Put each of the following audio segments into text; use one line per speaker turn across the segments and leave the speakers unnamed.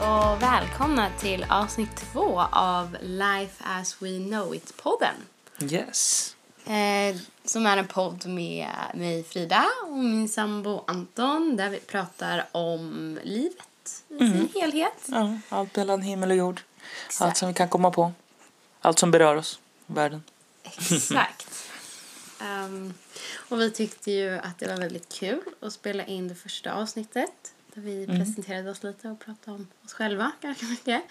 och välkomna till avsnitt två av Life as we know it-podden.
Yes.
Eh, som är en podd med mig Frida och min sambo Anton där vi pratar om livet i
Mm.
sin helhet.
Ja, allt mellan himmel och jord. Allt
Exakt.
som vi kan komma på. Allt som berör oss. Världen.
Exakt. Ehm, och vi tyckte ju att det var väldigt kul att spela in det första avsnittet där vi
Mm.
presenterade oss lite och pratade om oss själva ganska mycket.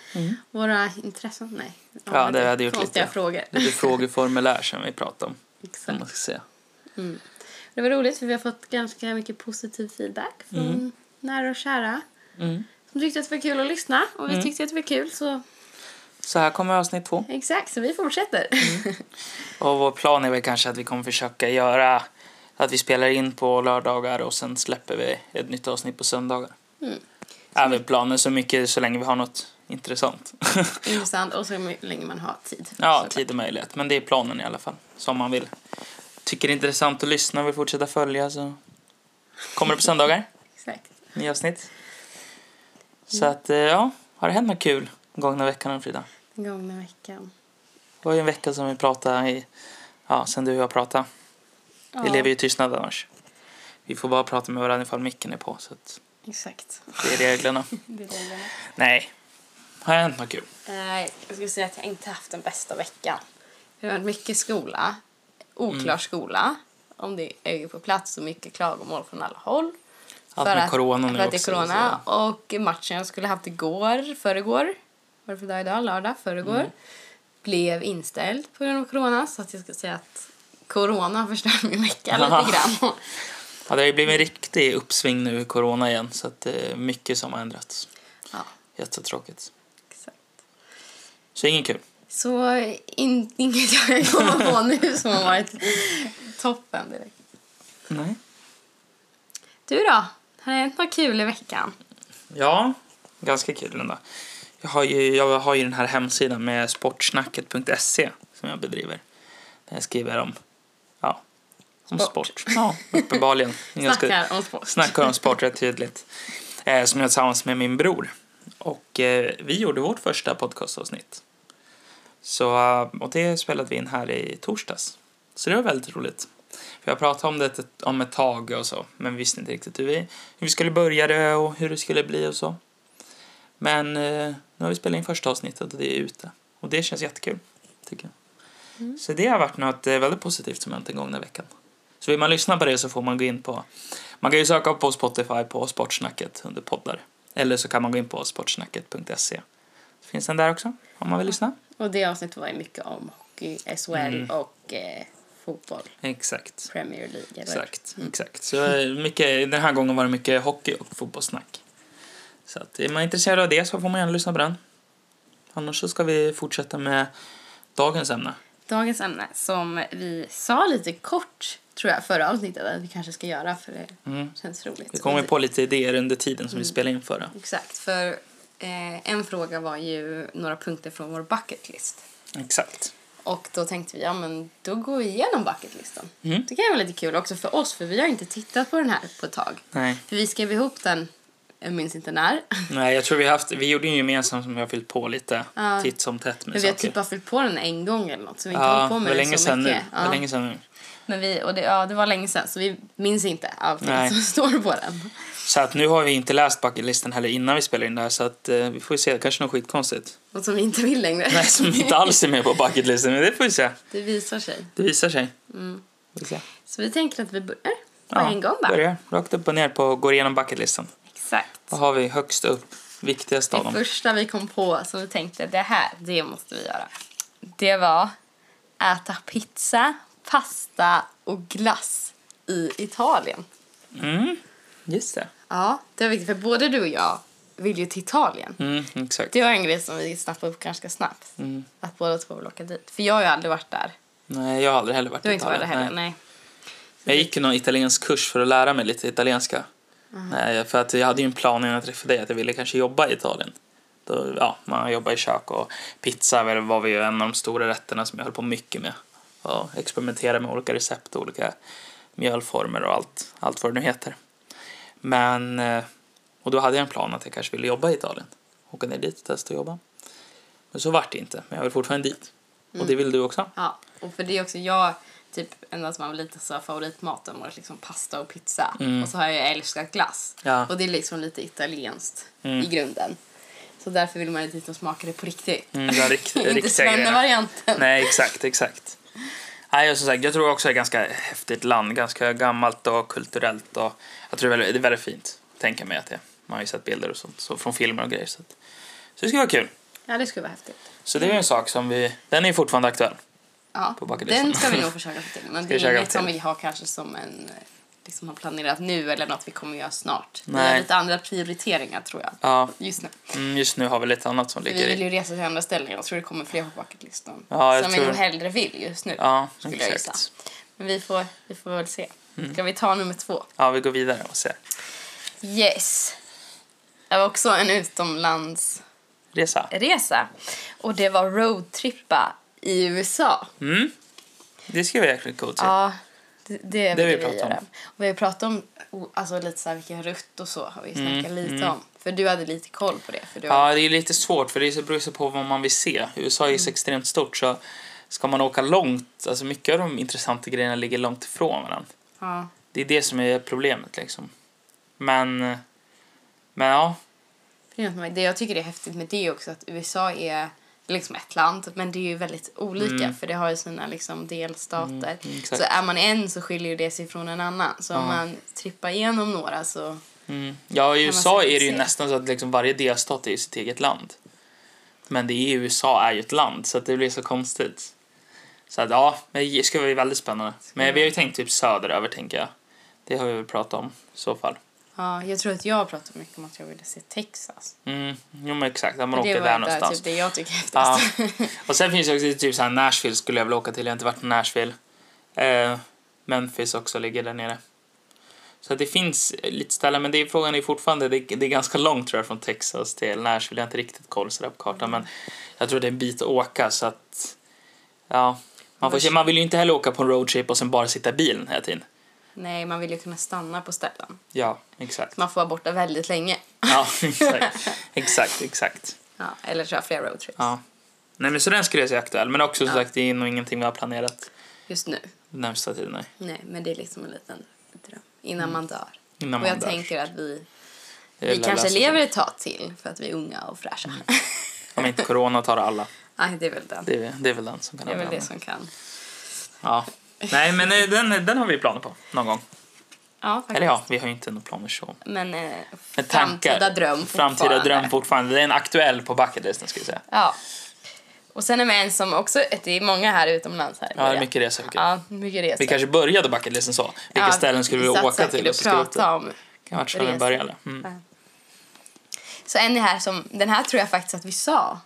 Våra intressen, nej.
Mm. Ja, det hade gjort
konstiga
lite.
frågor. Liksom.
Lite frågeformulär som vi pratade om. Om
Exakt.
man ska säga.
Det var roligt för vi har fått ganska mycket positiv feedback från nära och kära
Mm.
som tyckte att det var kul att lyssna och vi tyckte att det var kul så
Så här kommer avsnitt två.
exakt, så vi fortsätter.
Mm. Och vår plan är väl kanske att vi kommer försöka göra att vi spelar in på lördagar och sen släpper vi ett nytt avsnitt på söndagar.
Mm.
Är väl planen så mycket så länge vi har något intressant.
Intressant och så länge man har tid.
ja,
Så-
tid och möjlighet. Men det är planen i alla fall. Så om man vill. Tycker det är intressant att lyssna och vill fortsätta följa så kommer det på söndagar.
Exakt.
Nya avsnitt. Så att, eh, ja. Har det hänt något kul gångna veckan, Frida?
Den gångna veckan.
Det var ju en vecka som vi pratade i, ja, sen du och jag pratade. Vi lever ju i tystnad annars. Vi får bara prata med varandra ifall micken är på, så att
Exakt.
det är reglerna.
Det är det.
Nej. Har det hänt något kul?
Eh, jag skulle säga att jag inte haft den bästa veckan. Det har varit mycket skola, oklar
Mm.
skola. Om det är ju på plats och mycket klagomål från alla håll.
Allt med corona nu
för att det är
också,
corona. Och matchen jag skulle haft igår, förrgår, var det för dag idag? Lördag, förrgår.
Mm.
Blev inställd på grund av corona. Så att jag skulle säga att corona förstör min vecka lite grann.
Ja, det har ju blivit en riktig uppsving nu i corona igen, så att det är mycket som har ändrats.
ja,
Jättetråkigt.
exakt.
Så inget kul.
Så in, inget jag kan komma på nu som har varit toppen direkt.
Nej.
Du då? Har det hänt något kul i veckan?
Ja, ganska kul ändå. Jag har ju, jag har ju den här hemsidan med sportsnacket.se som jag bedriver. Där jag skriver om, ja, om sport.
Sport.
Ja, uppenbarligen. En ganska-
Snackar om sport.
snackar om sport rätt tydligt. Eh, som jag tillsammans med min bror. Och eh, vi gjorde vårt första podcastavsnitt. Så, eh, och det spelade vi in här i torsdags. Så det var väldigt roligt. Vi har pratat om det ett, om ett tag och så, men vi visste inte riktigt hur vi, hur vi skulle börja det och hur det skulle bli och så. Men eh, nu har vi spelat in första avsnittet och det är ute. Och det känns jättekul, tycker jag. Så det har varit något eh, väldigt positivt som hänt den gångna veckan. Så vill man lyssna på det så får man gå in på man kan ju söka på Spotify på Sportsnacket under poddar. Eller så kan man gå in på sportsnacket.se. Finns den där också om man vill lyssna?
Och det avsnittet var ju mycket om hockey, SHL
Mm.
och eh, fotboll,
Exakt.
Premier League. Eller?
Exakt.
Mm.
Exakt. Så eh, mycket, den här gången var det mycket hockey och fotbollssnack. Så att är man intresserad av det så får man gärna lyssna på den. Annars så ska vi fortsätta med dagens ämne.
Dagens ämne som vi sa lite kort tror jag förra avsnittet att vi kanske ska göra för det känns roligt.
Vi Mm. kommer på lite idéer under tiden
Mm.
som vi spelar in för det.
Exakt, för eh, en fråga var ju några punkter från vår bucket list.
Exakt.
Och då tänkte vi, ja men då går vi igenom bucketlistan.
Mm.
Det kan ju vara lite kul också för oss för vi har inte tittat på den här på ett tag.
Nej.
För vi skrev ihop den, jag minns inte när.
Nej, jag tror vi har haft, vi gjorde ju en gemensam som vi har fyllt på lite
Ja.
titt som tätt med
Men vi har
saker.
typ bara fyllt på den en gång eller något så vi har inte
Ja,
hållit på med
det
den
var länge
så
sedan nu.
mycket.
Det
Ja.
var länge sedan nu.
Men vi, och det, ja, det var länge sedan så vi minns inte allting
Nej.
som står på den.
Så att nu har vi inte läst bucketlisten heller innan vi spelar in det här så att eh, vi får ju se, kanske något skitkonstigt.
Något som vi inte vill längre.
Nej, som inte alls är med på bucketlisten, men det får vi se.
Det visar sig.
Det visar sig. Vi får se.
Så vi tänker att vi börjar Mm. på
Ja,
en gång bara.
Börjar rakt upp och ner på, går igenom bucketlisten.
Exakt.
Vad har vi högst upp, viktigast
Det
av dem?
första vi kom på som vi tänkte det här, det måste vi göra. Det var äta pizza, pasta och glass i Italien.
Mm, just det.
Ja, det var viktigt för både du och jag vill ju till Italien.
Mm, exakt.
Det var en grej som vi snappade upp ganska snabbt. Att båda två vill åka dit. För jag har ju aldrig varit där.
Nej, jag har aldrig heller varit
Du
i
har inte varit
Italien.
där heller? Nej.
Jag gick ju någon italiensk kurs för att lära mig lite italienska. Nej, för att jag hade ju en plan innan jag träffade dig att jag ville kanske jobba i Italien. Då, ja, man jobbar i kök och pizza var- var ju en av de stora rätterna som jag höll på mycket med. Och experimenterade med olika recept och olika mjölformer och allt, allt vad det nu heter. Men, eh, och då hade jag en plan att jag kanske ville jobba i Italien. åka ner dit och testa att jobba. Men så vart det inte, men jag vill fortfarande dit. Och det vill du också?
Ja, och för det är också jag, typ ända som jag var liten så har favoritmaten varit liksom pasta och pizza. Och så har jag älskat glass.
Mm. Ja. Mm.
Och det är liksom lite italienskt i grunden. Så därför vill man ju dit och smaka det på riktigt.
Mm, den rikt,
Inte
riktiga grejerna.
svennevarianten.
Nej, exakt, exakt. Nej, och som sagt, jag tror också det är ett ganska häftigt land, ganska gammalt och kulturellt och jag tror det är väldigt, det är väldigt fint, tänker mig att det är. Man har ju sett bilder och sånt, så från filmer och grejer. Så, att, så det ska vara kul.
Ja, det skulle vara häftigt.
Så det är ju en sak som vi, den är ju fortfarande aktuell.
Ja,
På bucketlistan.
den ska vi nog försöka få till. Men
Ska
det
vi
är
försöka
inget
få till?
som vi har kanske som en eh, liksom har planerat nu eller något vi kommer göra snart. Vi har
Nej.
lite andra prioriteringar tror jag.
Ja,
Just nu.
mm, just nu har vi lite annat som
För vi
ligger
vill
i.
ju resa till andra ställen. Jag tror det kommer fler på bucketlistan.
Ja, jag
som vi
tror-
nog hellre vill just nu.
Ja,
skulle jag gissa.
exakt. Mm.
Men vi får, vi får väl se. Ska vi ta nummer två?
Ja, vi går vidare och ser.
Yes. Det var också en utomlandsresa.
Resa.
Och det var roadtrippa i USA.
Mm. Det ska vi verkligen gå till.
Ja, det, det, vill
Det har vi
vi,
pratat om.
göra. Och vi har pratat om o- alltså, lite så här, vilken rutt och så har vi snackat lite om. För du hade lite koll på det. För du
Mm, Ja, det är lite svårt för det är så- beror så på vad man vill se. USA är ju så extremt stort så ska man åka långt, alltså mycket av de intressanta grejerna ligger långt ifrån varandra.
ja.
Det är det som är problemet liksom. Men, men ja.
Det är något med- Det jag tycker är häftigt med det också att USA är liksom ett land men det är ju väldigt olika för det har ju sina liksom delstater.
mm, exakt.
så är man en så skiljer ju det sig från en annan. Så om
Ja.
man trippar igenom några så...
Mm. Ja,
man
i USA
säkert
är det ju
se.
nästan så att liksom varje delstat är ju sitt eget land. Men det är ju USA är ju ett land så att det blir så konstigt. Så att ja, men det ska bli väldigt spännande. Men vi har ju tänkt typ söderöver tänker jag. Det har vi väl pratat om i så fall.
Ja, jag tror att jag har pratat mycket om att jag ville se Texas.
Mm, jo men exakt, att man
För
åker
det
där
var ju
någonstans.
där, typ det jag tycker är
Ja.
häftigast.
Och sen finns det också typ så här Nashville skulle jag vilja åka till. Jag har inte varit i Nashville. Eh, Memphis också ligger där nere. Så att det finns eh, lite ställen, men det är, frågan är fortfarande, det, det är ganska långt tror jag från Texas till Nashville. Jag har inte riktigt koll sådär på kartan, men jag tror det är en bit att åka så att, ja. Man, får, se. man vill ju inte heller åka på en roadtrip och sen bara sitta i bilen hela tiden.
Nej, man vill ju kunna stanna på ställen.
Ja, exakt.
Man får vara borta väldigt länge.
Ja, exakt. Exakt, exakt.
Ja, eller köra flera roadtrips
Ja. Nej men så den skulle jag säga är aktuell, men också som sagt det är nog ingenting vi har planerat
just nu.
den närmsta tiden. Nej.
Nej, men det är liksom en liten dröm. Innan man dör.
Innan
Och
Mm. man
jag
dör.
tänker att vi
Jag
Vi
gillar
kanske
att läsa
lever ett tag till för att vi är unga och fräscha.
Om inte corona tar alla.
Nej, det är väl den.
Mm. Det är, det är väl den som kan
Det är väl
hända.
det som kan.
Ja. Nej, men eh, den, den har vi planer på någon gång.
Ja, faktiskt.
Eller ja, vi har ju inte några planer så.
Men, eh,
Men
framtida dröm
Framtida
fortfarande.
dröm fortfarande. Det är en aktuell på bucketlisten ska jag säga.
Ja. Och sen är vi en som också, det är många här utomlands här. i
Ja, det är
början.
mycket resor. tycker jag.
Ja, mycket resor.
Vi kanske började bucketlisten så. Vilka
Ja,
ställen skulle vi
satt
åka
säkert
till?
och
så skulle vi åka-
prata om.
Kan vara så vi
resor.
började. Mm.
Ja. Så en är här som, den här tror jag faktiskt att vi sa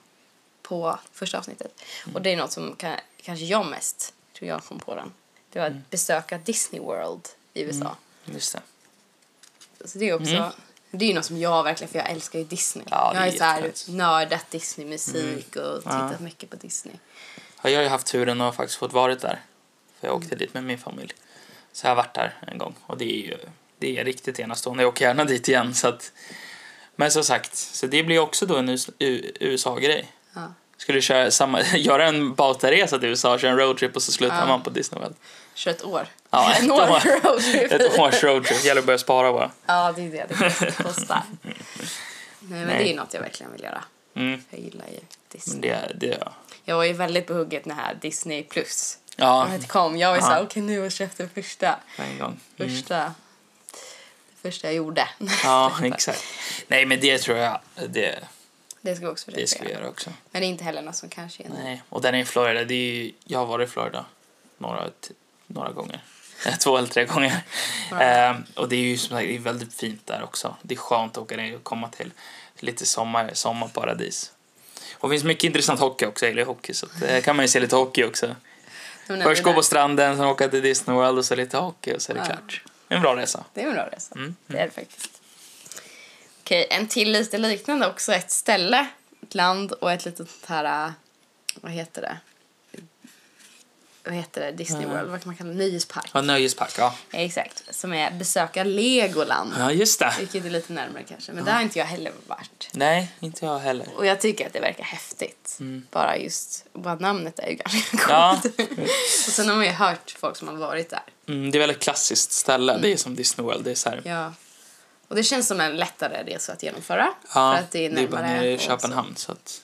på första avsnittet.
Mm.
Och det är något som kan, kanske jag mest tror jag kom på den. Det var
Mm.
att besöka Disney World i USA.
Just det.
Så det är också... Det är ju något som jag verkligen, för jag älskar ju Disney.
Mm. Ja, det
jag har
är
ju så här
jättehärligt.
nördat Disney-musik och tittat
Ja.
mycket på Disney.
Ja, jag har ju haft turen och faktiskt fått varit där. För jag åkte dit med min familj. Så jag har varit där en gång och det är ju det är riktigt enastående. Jag åker gärna dit igen så att men som sagt, så det blir ju också då en US- U- USA-grej.
Ja.
Skulle du köra samma, göra en bautaresa till USA, köra en roadtrip och så slutar
Ja.
man på Disney World.
Kör ett år.
Ja,
en
ett
år
år.
roadtrip.
Ett års roadtrip, gäller att börja spara bara.
Ja, det är det det kostar. Nej, men
Nej.
det är ju något jag verkligen vill göra.
Mm.
Jag gillar ju Disney.
Men det, det,
Jag var ju väldigt på hugget när här Disney plus
ja,
det kom. Jag var ju så här,
Ja.
okej nu har jag köpt den första.
på en gång. Mm.
Första. Det första jag gjorde.
Ja, exakt. Nej, men det tror jag, det,
det ska vi också
det
försöka
ska vi
göra.
göra också.
Men det är inte heller något som kanske är en
Nej, och den är i Florida. Det är ju, jag har varit i Florida några, t- några gånger. Eh, Två eller tre gånger. Ehm, och det är ju som sagt det är väldigt fint där också. Det är skönt att åka ner och komma till lite sommar, sommarparadis. Och det finns mycket intressant hockey också. Jag gillar ju hockey så att, eh, kan man ju se lite hockey också.
Men när
Först
vi
gå
är
på
där-
stranden, sen åka till Disney World och så lite hockey och så är det
Ja.
klart. En bra resa.
Det är en bra resa.
Mm,
Det är det faktiskt. Okej, en till lite liknande också. Ett ställe, ett land och ett litet här... äh, Vad heter det? vad heter det, Disney
Ja.
World, vad kan man kalla det, nöjespark.
Ja, nöjespark, ja.
Exakt, som är besöka Legoland.
Ja, just det.
Vilket är lite närmare kanske, men där har inte jag heller varit.
Nej, inte jag heller.
Och jag tycker att det verkar häftigt. Bara just, bara namnet är ju ganska
Mm. Ja.
coolt. och sen har man ju hört folk som har varit där.
Mm, det är väldigt klassiskt ställe. Det är som Disney World. Det är så här,
Ja. Och det känns som en lättare resa att genomföra.
ja,
för att det är närmare.
bara nere i
och så.
Köpenhamn. Så att,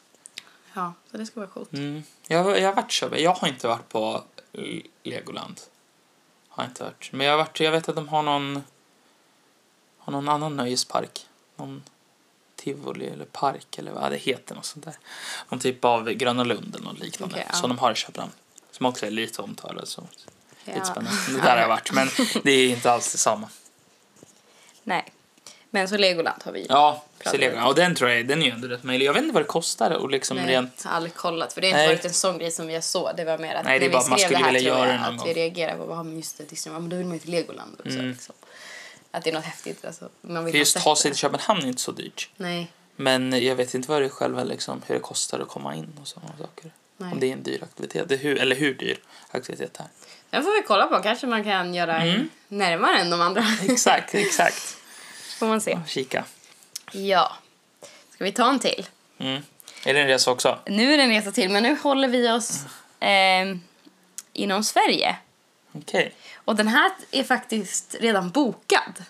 Ja, så det ska vara coolt.
mm. jag, jag har varit i Köpenhamn. Jag har inte varit på L- Legoland. Har inte varit. Men jag, har varit, jag vet att de har någon, har någon annan nöjespark. Någon tivoli eller park eller vad det heter. Något sånt där. Någon typ av Gröna Lund eller något liknande.
Okej, ja.
Som de har i Köpenhamn. Som också är lite omtalad. Så.
Ja.
Lite spännande. Det där har jag varit. Men det är inte alls detsamma.
Nej. Men så Legoland har vi ju.
Ja,
Pratar
Selena.
lite.
Och den tror jag den är ju ändå rätt möjlig. Jag vet inte vad det kostar och liksom
Nej,
rent...
jag har aldrig kollat för det har inte
Nej.
varit en sån grej som jag såg. Det var mer att
Nej, det är
när
bara
vi
att man
skrev det
skulle
här
vilja
tror jag
göra det någon
att
gång.
vi reagerade på vad men just det, Disney, ja, men då vill man ju till Legoland också. Liksom. Att det är något häftigt. Alltså, man vill
För
ha
just
sett
ta
det.
sig till Köpenhamn är inte så dyrt.
Nej,
Men jag vet inte vad det är själva liksom, hur det kostar att komma in och sådana saker.
Nej.
Om det är en dyr aktivitet. Det är hur, eller hur dyr aktivitet det är.
den får vi kolla på. Kanske man kan göra närmare än de andra.
Mm. Exakt, exakt.
får man se.
Kika.
Ja. Ska vi ta en till?
Mm. Är det en resa också?
Nu är det en resa till, men nu håller vi oss eh, inom Sverige.
Okej.
Och den här är faktiskt redan bokad.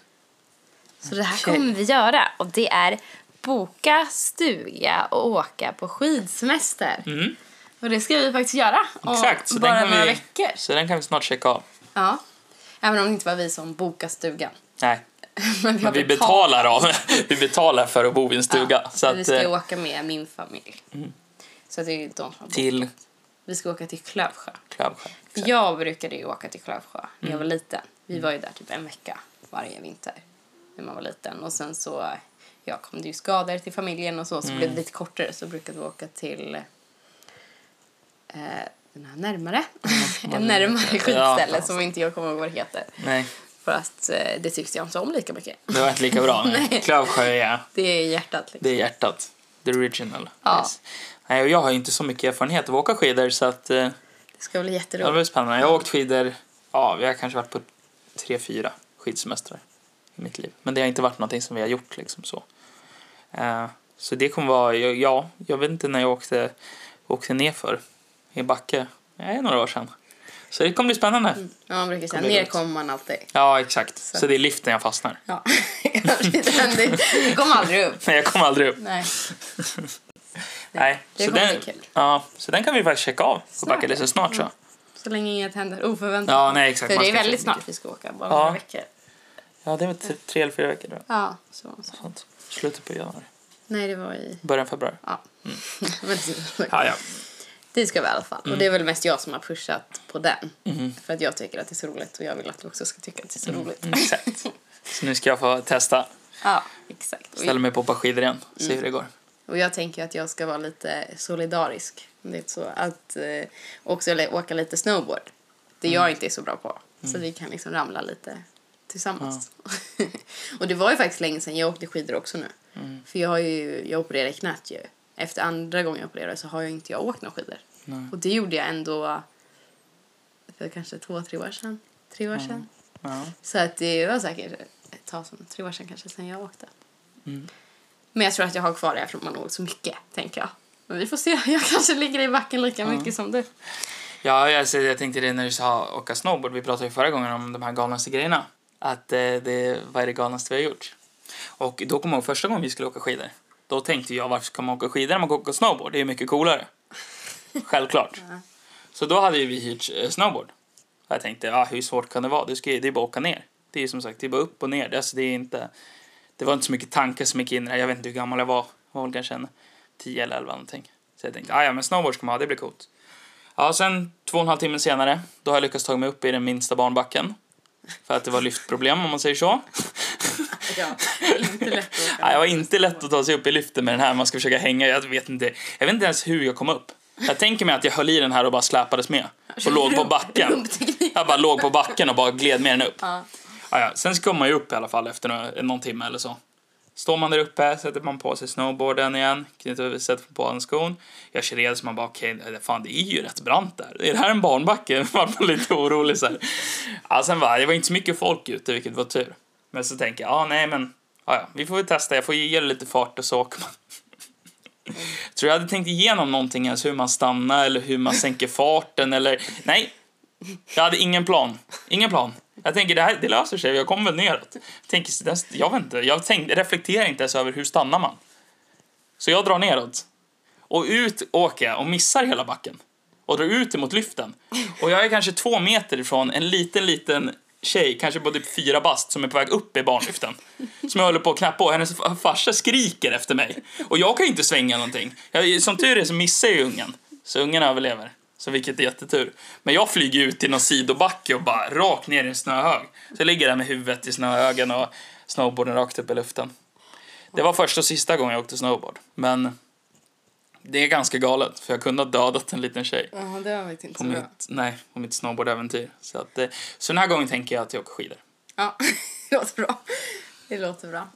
Så det här
Okej.
kommer vi göra. Och det är boka stuga och åka på skidsemester.
Mm.
Och det ska vi faktiskt göra om
Exakt.
bara några
vi,
veckor.
Så den kan vi snart checka av.
Ja. Även om det inte var vi som bokade stugan.
Nej,
Men vi, har
men vi
betalt-
betalar av. vi betalar för att bo i en stuga.
Ja,
så
vi
att,
ska
eh, Mm.
åka med min familj. Så att det är ju de som har bokat.
till
Vi ska åka till Klövsjö.
Klövsjö.
Jag brukade ju åka till Klövsjö när jag var
Mm.
liten. Vi var ju där typ en vecka varje vinter när man var liten. Och sen så, ja, kom det ju skador till familjen och så, så
Mm.
blev det lite kortare. Så brukade vi åka till eh, den här närmare,
Mm.
en närmare skidställe
fan.
som inte jag kommer ihåg vad det heter.
Nej,
För att eh, det tyckte jag inte om lika mycket.
det var inte lika bra. Nej. Klövsjö är
Det är hjärtat liksom.
Det är hjärtat. The original.
Ja.
Yes. Nej, och jag har ju inte så mycket erfarenhet av att åka skidor så att, eh,
Det ska bli
det var
jätteroligt.
väl spännande. Jag har åkt skidor, ja, vi har kanske varit på tre, fyra skidsemestrar i mitt liv. Men det har inte varit någonting som vi har gjort liksom så. Eh, så det kommer vara, ja, ja, jag vet inte när jag åkte, åkte nerför i en backe. Det är några år sedan. Så det kommer bli spännande.
Ja, man brukar säga
Kommer det
ner
ut?
kommer man alltid.
Ja, exakt. Så. det är liften jag fastnar.
Ja, det det kommer aldrig upp.
Nej, jag kommer aldrig upp.
Nej.
Nej.
det
så
kommer
den,
bli kul.
Ja, så den kan vi faktiskt checka av på
Snart.
bucketlisten snart så.
Så länge inget händer oförväntat.
Ja, nej, exakt.
För
Man
det är
ska
väldigt
försöka.
snart vi ska åka, bara
Ja.
några veckor.
Ja, det var tre, tre eller fyra veckor. Då.
Ja, så, så.
Sånt. Slutet på januari.
Nej, det var i...
Början februari.
Ja.
Mm.
Men det-
Ja, ja.
det ska vi i alla fall.
Mm.
Och det är väl mest jag som har pushat på den. För att jag tycker att det är så roligt och jag vill att du också ska tycka att det är
Mm.
så roligt.
Exakt. Så nu ska jag få testa.
Ja, exakt. Och,
Ställa mig på ett par skidor igen. Se hur det går.
och jag tänker att jag ska vara lite solidarisk. Det är så att eh, också lä- åka lite snowboard. Det jag inte är så bra på. Så vi kan liksom ramla lite tillsammans. och det var ju faktiskt länge sedan jag åkte skidor också nu. För jag har ju, jag opererade knät ju. Efter andra gången jag opererade så har jag inte jag åkt några skidor. Och det gjorde jag ändå för kanske två, tre år sedan. Tre år sedan.
Mm. Ja.
Så att det var säkert ett tag som tre år sedan kanske sedan jag åkte. Men jag tror att jag har kvar det eftersom man åkt så mycket, tänker jag. Men vi får se, jag kanske ligger i backen lika mycket som du.
Ja, alltså, jag tänkte det när du sa åka snowboard. Vi pratade ju förra gången om de här galnaste grejerna. Att eh, det, vad är det galnaste vi har gjort? Och då kommer jag ihåg första gången vi skulle åka skidor. Då tänkte jag, varför ska man åka skidor när man kan åka snowboard? Det är ju mycket coolare. Självklart. Så då hade ju vi hyrt eh, snowboard. Och jag tänkte, ah, hur svårt kan det vara? Det, ska, ju- det är bara att åka ner. Det är ju som sagt, det är bara upp och ner. Det, alltså, det, är inte, det var inte så mycket tankar som gick in i det. Jag vet inte hur gammal jag var. Jag var väl kanske en 10 eller 11 någonting. Så jag tänkte, ah, ja men snowboard ska man ha, det blir coolt. Ja, sen två och en halv timme senare, då har jag lyckats ta mig upp i den minsta barnbacken. För att det var lyftproblem om man säger så.
Ja, inte lätt att åka.
Nej, det var inte lätt att ta sig upp i lyften med den här. Man ska försöka hänga. Jag vet inte, jag vet inte ens hur jag kom upp. Jag tänker mig att jag höll i den här och bara släpades med. Och låg på backen.
Rumpteknik.
Jag bara låg på backen och bara gled med den upp.
Ja.
Ja, ja. Sen så kom man ju upp i alla fall efter nå- någon timme eller så. Står man där uppe, sätter man på sig snowboarden igen, knyter över, sätter på en skon. Jag kör red så man bara, okej, okay, fan det är ju rätt brant där. Är det här en barnbacke? Man var lite orolig så här. Ja, sen var det var inte så mycket folk ute, vilket var tur. Men så tänker jag, ja, ah, nej, men ja, ja, vi får väl testa. Jag får ju ge det lite fart och så åker man. Tror jag hade tänkt igenom någonting ens, hur man stannar eller hur man sänker farten eller nej. Jag hade ingen plan. Ingen plan. Jag tänker det här det löser sig, jag kommer väl neråt. Jag, tänker, så där- jag vet inte, jag tänk, reflekterar inte ens över hur stannar man. Så jag drar neråt. Och ut åker jag och missar hela backen. Och drar ut emot lyften. Och jag är kanske två meter ifrån en liten, liten tjej, kanske på typ fyra bast, som är på väg upp i barnlyften. Som jag håller på att knappa och hennes fa- farsa skriker efter mig. Och jag kan ju inte svänga någonting. Jag, som tur är så missar jag ju ungen. Så ungen överlever. Så vilket är jättetur. Men jag flyger ut till någon sidobacke och bara rakt ner i en snöhög. Så jag ligger där med huvudet i snöhögen och snowboarden rakt upp i luften. Det var första och sista gången jag åkte snowboard. Men det är ganska galet, för jag kunde ha dödat en liten tjej
Ja, det var faktiskt inte
på
så bra.
mitt, nej, på mitt snowboardäventyr. Så, att, eh, så den här gången tänker jag att jag åker skidor.
Ja, det låter bra. Det låter bra.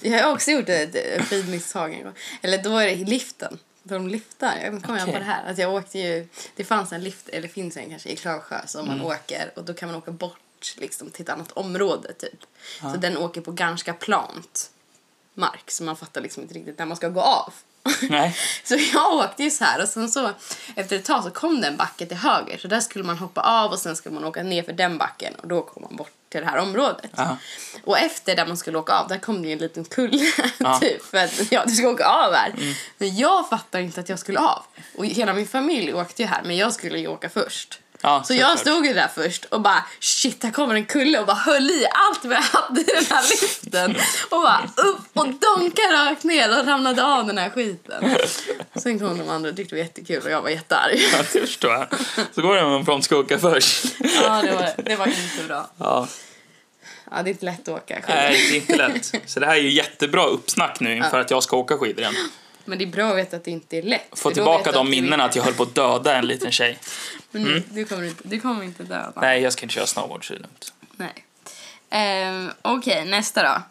Jag har också gjort ett ett skidmisstag en gång. Eller då är det i liften. Då de liftar. Jag kommer jag
Okej.
på det här. Att jag åkte ju, det fanns en lift, eller finns en kanske, i Klavsjö som man åker och då kan man åka bort liksom, till ett annat område typ. Så den åker på ganska plant mark så man fattar liksom inte riktigt när man ska gå av.
Nej.
Så jag åkte ju så här och sen så efter ett tag så kom den backe till höger så där skulle man hoppa av och sen skulle man åka ner för den backen och då kom man bort till det här området.
Ja.
Och efter där man skulle åka av där kom det ju en liten kulle
Ja. Mm.
typ för att ja, du ska åka av här. Men jag fattade inte att jag skulle av och hela min familj åkte ju här men jag skulle ju åka först.
Ja,
Så jag
såklart.
stod ju där först och bara shit, här kommer en kulle och bara höll i allt vad jag hade i den här lyften och bara upp och donkade rakt ner och ramlade av den här skiten. Sen kom de andra och tyckte det var jättekul och jag var jättearg.
Ja, det förstår jag. Så går det om de ska åka först.
Ja, det var, det var inte bra.
Ja.
Ja, det är inte lätt att åka själv.
Nej, det är inte lätt. Så det här är ju jättebra uppsnack nu inför att jag ska åka skidor igen.
Men det är bra att veta att det inte är lätt.
Få
för då vet
tillbaka
du
de
att det är-
minnena att jag höll på att döda en liten tjej.
Men nu, du, kommer inte, du kommer inte döda.
Nej, jag ska inte köra snowboard så det är lugnt.
Nej. Ehm, Okej, nästa då.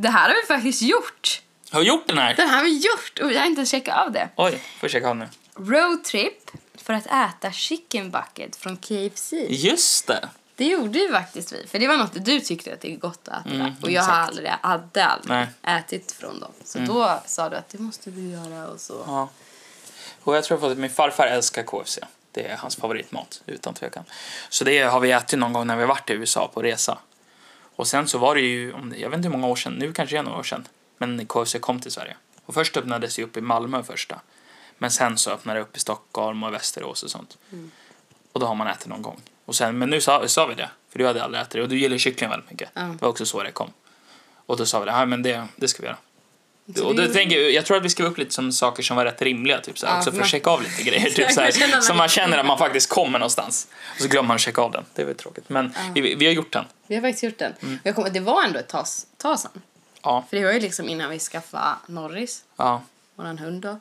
Det här har vi faktiskt gjort.
Har jag gjort den här?
Det här har vi gjort och vi har inte ens checkat av det.
Oj, får checka av nu.
roadtrip för att äta chicken bucket från KFC.
Just det!
Det gjorde ju faktiskt vi, för det var något du tyckte att det är gott att äta.
Mm,
och jag har
exakt.
aldrig, hade aldrig
Nej. Mm.
ätit från dem. Så då sa du att det måste du göra och så.
Ja. Och jag tror att min farfar älskar KFC. Det är hans favoritmat, utan tvekan. Så det har vi ätit någon gång när vi varit i USA på resa. Och sen så var det ju, om det- jag vet inte hur många år sedan, nu kanske det är några år sedan, men KFC kom till Sverige. Och först öppnades ju upp i Malmö första. Men sen så öppnade det upp i Stockholm och Västerås och sånt.
Mm.
Och då har man ätit någon gång. Och sen, men nu sa, sa vi det, för du hade aldrig ätit det. Och du gillar kyckling väldigt mycket.
Ja.
Det var också så det kom. Och då sa vi det, här men det, det ska vi göra.
Så
Och
det
då
gjorde
tänker jag, jag tror att vi skrev upp lite som saker som var rätt rimliga, typ så här,
Ja,
också för
man-
att checka av lite grejer. Typ
Man
så
känner
här,
man
så man
lite-
känner att man faktiskt kommer någonstans. Och så glömmer man att checka av den. Det är väl tråkigt. Men vi, vi har gjort den.
Vi har faktiskt gjort den.
Mm.
Och Jag kom, det var ändå ett tag, tag sedan.
Ja.
För det var ju liksom innan vi skaffade Norris,
ja.
våran hund då.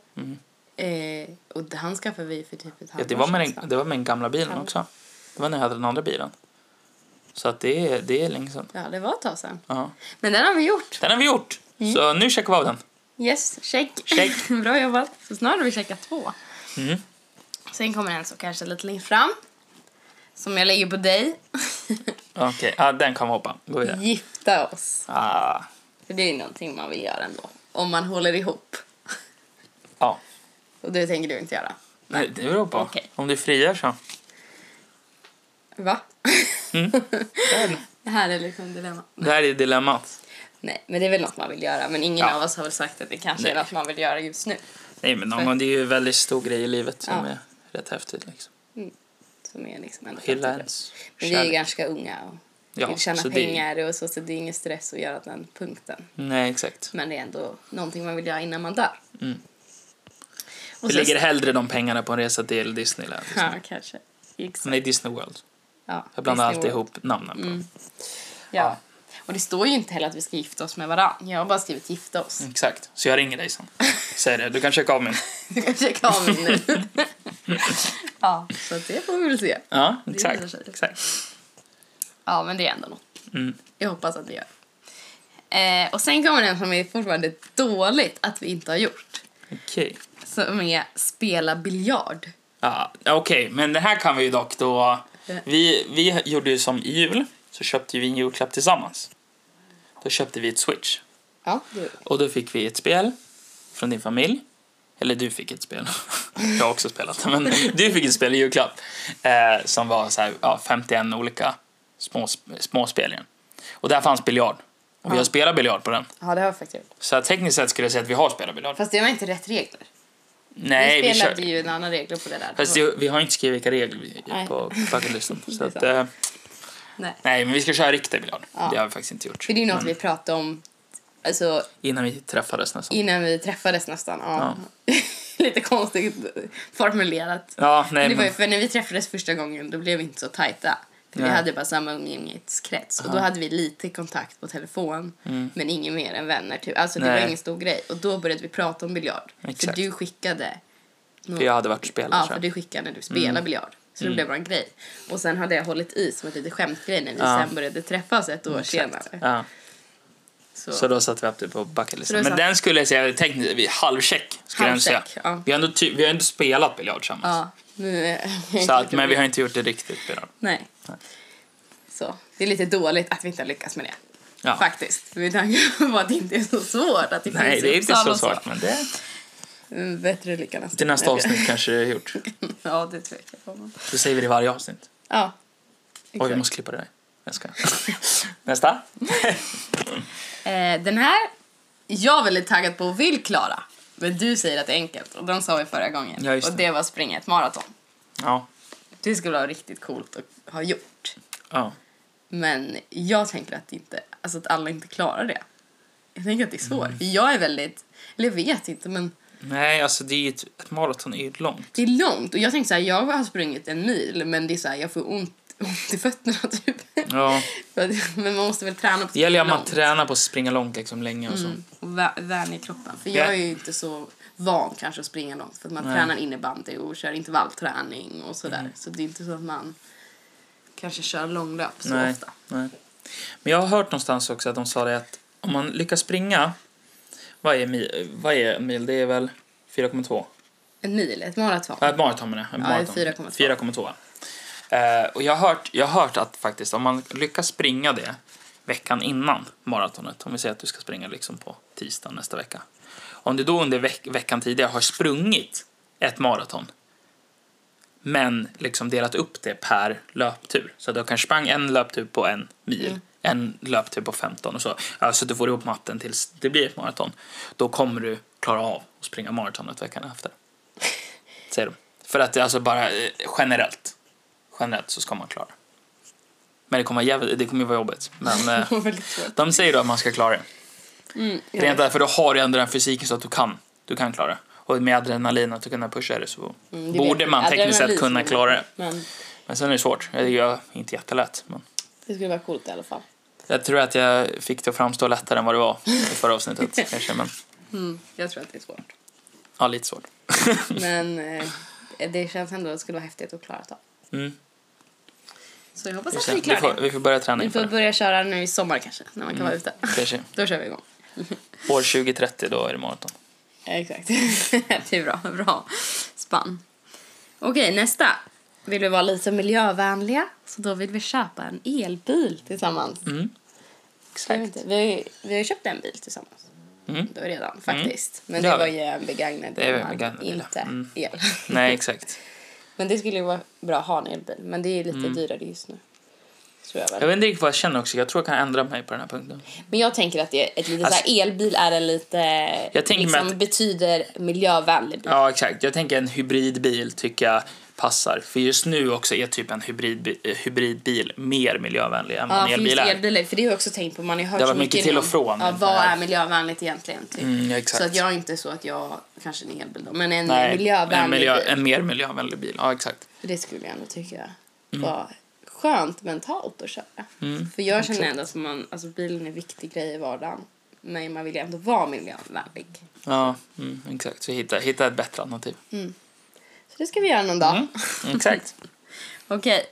Eh, och han skaffade vi för typ ett halvår
Mm. ja det, var med
sedan.
den, det var med den gamla bilen också. Det var när jag hade den andra bilen. Så att det, är- det är länge sedan.
Ja, det var ett tag sedan.
Ja.
Men den har vi gjort.
Den har vi gjort!
Mm.
Så nu checkar vi av den.
Yes, check.
Check.
Bra jobbat. Så snart har vi checkat två.
Mm.
Sen kommer en som kanske är lite längre fram. Som jag lägger på dig.
Okej, ja, den kan vi hoppa. Gå
Mm.
vidare.
Gifta oss.
Ah.
För det är ju någonting man vill göra ändå. Om man håller ihop.
Ja.
Och det tänker du inte göra.
Nej, det beror på.
Okej.
Om du friar så.
Va?
Mm.
Det här är liksom dilemma.
Det här är dilemmat.
Nej, men det är väl något man vill göra. Men ingen
Ja.
av oss har väl sagt att det kanske är
Nej.
något man vill göra just nu.
Nej men någon gång, det är ju en väldigt stor grej i livet som
Ja.
är rätt häftigt liksom.
Som är liksom ändå
Hylla
framtiden.
ens
Men vi är ju
kärlek.
ganska unga och
Ja,
vill tjäna
så det-
pengar och så. Så det är ingen stress att göra den punkten.
Nej exakt.
Men det är ändå någonting man vill göra innan man dör.
Mm.
Och
Vi
sen-
lägger hellre de pengarna på en resa till Disneyland.
Ja, kanske. Exakt.
Nej, Disney World.
Ja,
Jag blandar
Disney
alltid
World. Mm.
ihop namnen. på dem.
Ja. Och det står ju inte heller att vi ska gifta oss med varandra. Jag har bara skrivit gifta oss.
Exakt. Så jag ringer dig sen. Säger det. Du kan checka av min.
Du kan checka av mig nu. ja, så att det får vi väl se.
Ja,
visar
exakt.
sig.
exakt.
Ja, men det är ändå något.
Mm.
Jag hoppas att det gör. Eh, och sen kommer den som är fortfarande dåligt att vi inte har gjort.
Okej.
Som är spela biljard.
Ja, Okej, men det här kan vi ju dock då... Vi, vi gjorde ju som i jul, så köpte vi en julklapp tillsammans. Då köpte vi ett Switch.
Ja, det
Och då fick vi ett spel från din familj. Eller du fick ett spel. Jag har också spelat. Men du fick ett spel i julklapp. Eh, som var så här, ja, 51 olika små, små spel igen. Och där fanns biljard. Och vi har spelat biljard på den.
ja, det har vi faktiskt gjort.
Så här, tekniskt sett skulle jag säga att vi har spelat biljard.
Fast det var inte rätt regler.
Nej,
vi
vi
spelade
kör.
ju en annan regler på det där.
Fast det, vi har inte skrivit vilka regler vi
Nej.
är på bucketlisten. Så
Det är
att, eh,
Nej.
nej, men vi ska köra riktig biljard.
Ja.
Det har vi faktiskt inte gjort.
För det är ju något vi
Mm.
pratade om alltså,
Innan vi träffades nästan.
innan vi träffades nästan. Ja. Lite konstigt formulerat.
Ja, nej,
Men det var ju
men,
för när vi träffades första gången då blev vi inte så tajta. För vi
Nej.
hade bara samma umgängeskrets och då hade vi lite kontakt på telefon men ingen mer än vänner. Typ. Alltså det
Mm. Nej.
var ingen stor grej och då började vi prata om biljard.
Exakt.
För du skickade
för jag hade varit och spelat.
Ja,
tror
för
jag. Mm.
du skickade när du spelade biljard. Så det blev bara en grej. Och sen hade jag hållit i som ett litet skämtgrej när vi
Ja.
sen började träffas ett år senare.
Ja.
Så,
Så då satte vi upp det på
Så då
bucketlisten. Men
satt-
den skulle jag säga, tekniskt, vi- halvcheck skulle jag
Halvcheck,
nog säga.
ja.
Vi, har ändå ty- vi har ändå spelat biljard tillsammans.
ja, nu...
Så att, men vi har inte gjort det riktigt biljard.
Nej. Så, det är lite dåligt att vi inte har lyckats med det.
Ja.
Faktiskt. Med tanke på att det inte är så svårt. Att det
Nej,
finns
det
i
är inte
Uppsala
så
och
svårt. Men det,
Mm, Bättre lycka nästa
till nästa
gång.
avsnitt kanske det är gjort.
ja, det tvekar jag på.
Då säger vi det i varje avsnitt.
Ja.
Oj, vi
exakt.
måste klippa det där. Jag ska. Nästa.
Eh, den här, jag är väldigt taggad på och vill klara. Men du säger att det är enkelt och den sa vi förra gången.
Ja, just
och
det.
det var springa ett maraton.
Ja.
Det skulle vara riktigt coolt att ha gjort.
ja.
Men jag tänker att, inte, alltså att alla inte klarar det. Jag tänker att det är svårt.
Mm.
För Jag är väldigt, eller jag vet inte men
Nej, alltså det är ju ett, ett maraton är ju långt.
det är långt. Och jag tänkte så här, jag har sprungit en mil men det är så här, jag får ont, ont i fötterna typ.
Ja.
För att- men man måste väl träna på att
Det gäller ju att
springa
man tränar på att springa långt liksom länge och så.
Mm, och vä- värna i kroppen. För jag är ju inte så van kanske att springa långt för att man tränar innebandy och kör intervallträning och sådär.
Mm.
Så det är inte så att man kanske kör långlöp så
Nej,
ofta.
nej. Men jag har hört någonstans också att de sa det att om man lyckas springa varje mil, varje mil det är väl 4,2?
En mil, ett maraton.
Äh, ett maraton menar jag. Ett
Ja,
maraton.
4,2.
4,2. Eh, och jag har, hört, jag har hört att faktiskt om man lyckas springa det veckan innan maratonet, om vi säger att du ska springa liksom på tisdag nästa vecka. Om du då under veck- veckan tidigare har sprungit ett maraton men liksom delat upp det per löptur. Så du kanske sprang en löptur på en mil,
Mm.
en löptur på 15 och så. Ja, Så du får ihop matten tills det blir ett maraton. Då kommer du klara av att springa maratonet veckan efter. Säger de. För att det är alltså bara eh, generellt. Generellt så ska man klara. Men det kommer vara jävligt, det kommer ju vara jobbigt. Men eh,
Det var väldigt svårt.
de säger då att man ska klara det.
Mm, ja.
Rent därför då har du ändå den fysiken så att du kan, du kan klara det. Och med adrenalin att du kunna pusha det så
Mm, det
borde
vet
man
jag.
tekniskt sett
Adrenalin
kunna
som-
klara det.
Men
Men sen är det svårt. Det är ju inte jättelätt. Men
det skulle vara coolt i alla fall.
jag tror att jag fick det att framstå lättare än vad det var i förra avsnittet. kanske, men
Mm, jag tror att det är svårt.
ja, lite svårt.
Men eh, det känns ändå att det skulle vara häftigt att klara det.
Mm.
Så jag hoppas
Vi,
att
ser.
vi
vi,
klarar
får,
det.
vi Mm. får börja träna
Vi
inför
får
det.
börja köra nu i sommar kanske, när man kan vara ute.
Kanske.
Då kör vi igång.
År 2030, då är det maraton.
Exakt. det är bra. Bra spann. Okej, nästa. Vill vi vara lite miljövänliga? Så då vill vi köpa en elbil tillsammans.
Mm.
Jag vet inte, Vi, har ju, vi har ju köpt en bil tillsammans.
Mm.
Det var redan, faktiskt. Men
Det
det
har
var
vi.
ju en begagnad
Det är
bil,
en begagnad bil,
Inte
ja. Mm.
el.
Nej, exakt.
Men det skulle ju vara bra att ha en elbil. Men det är lite dyrare just nu. Tror jag väl.
Mm. Jag vet inte riktigt vad jag känner också. Jag tror jag kan ändra mig på den här punkten.
Men jag tänker att det är ett litet
Alltså-
så här, elbil är en lite...
Jag tänker mig
liksom,
att-
betyder miljövänlig bil.
Ja, exakt. Jag tänker en hybridbil tycker jag passar. För just nu också är typ en hybridbi- eh, hybridbil mer miljövänlig än vad
Ja,
en
för
elbil
just
är.
elbilar, för det har jag också tänkt på. Man har ju hört
Det har
så
varit mycket till
inom-
och från,
Ja,
men
vad
det här-
är miljövänligt egentligen? Typ.
Mm,
Så
ja, exakt.
att jag är inte så att jag, kanske en elbil då, men en
Nej,
miljövänlig
en, miljö,
bil.
en mer miljövänlig bil. Ja, exakt.
För det skulle jag ändå tycka
Mm.
var skönt mentalt att köra. För jag känner ändå att man, alltså, bilen är en viktig grej i vardagen. Men man vill ju ändå vara miljövänlig.
Ja, mm, exakt. Så hitta, hitta ett bättre alternativ.
Så det ska vi göra någon dag.
Mm, Exakt.
Okej.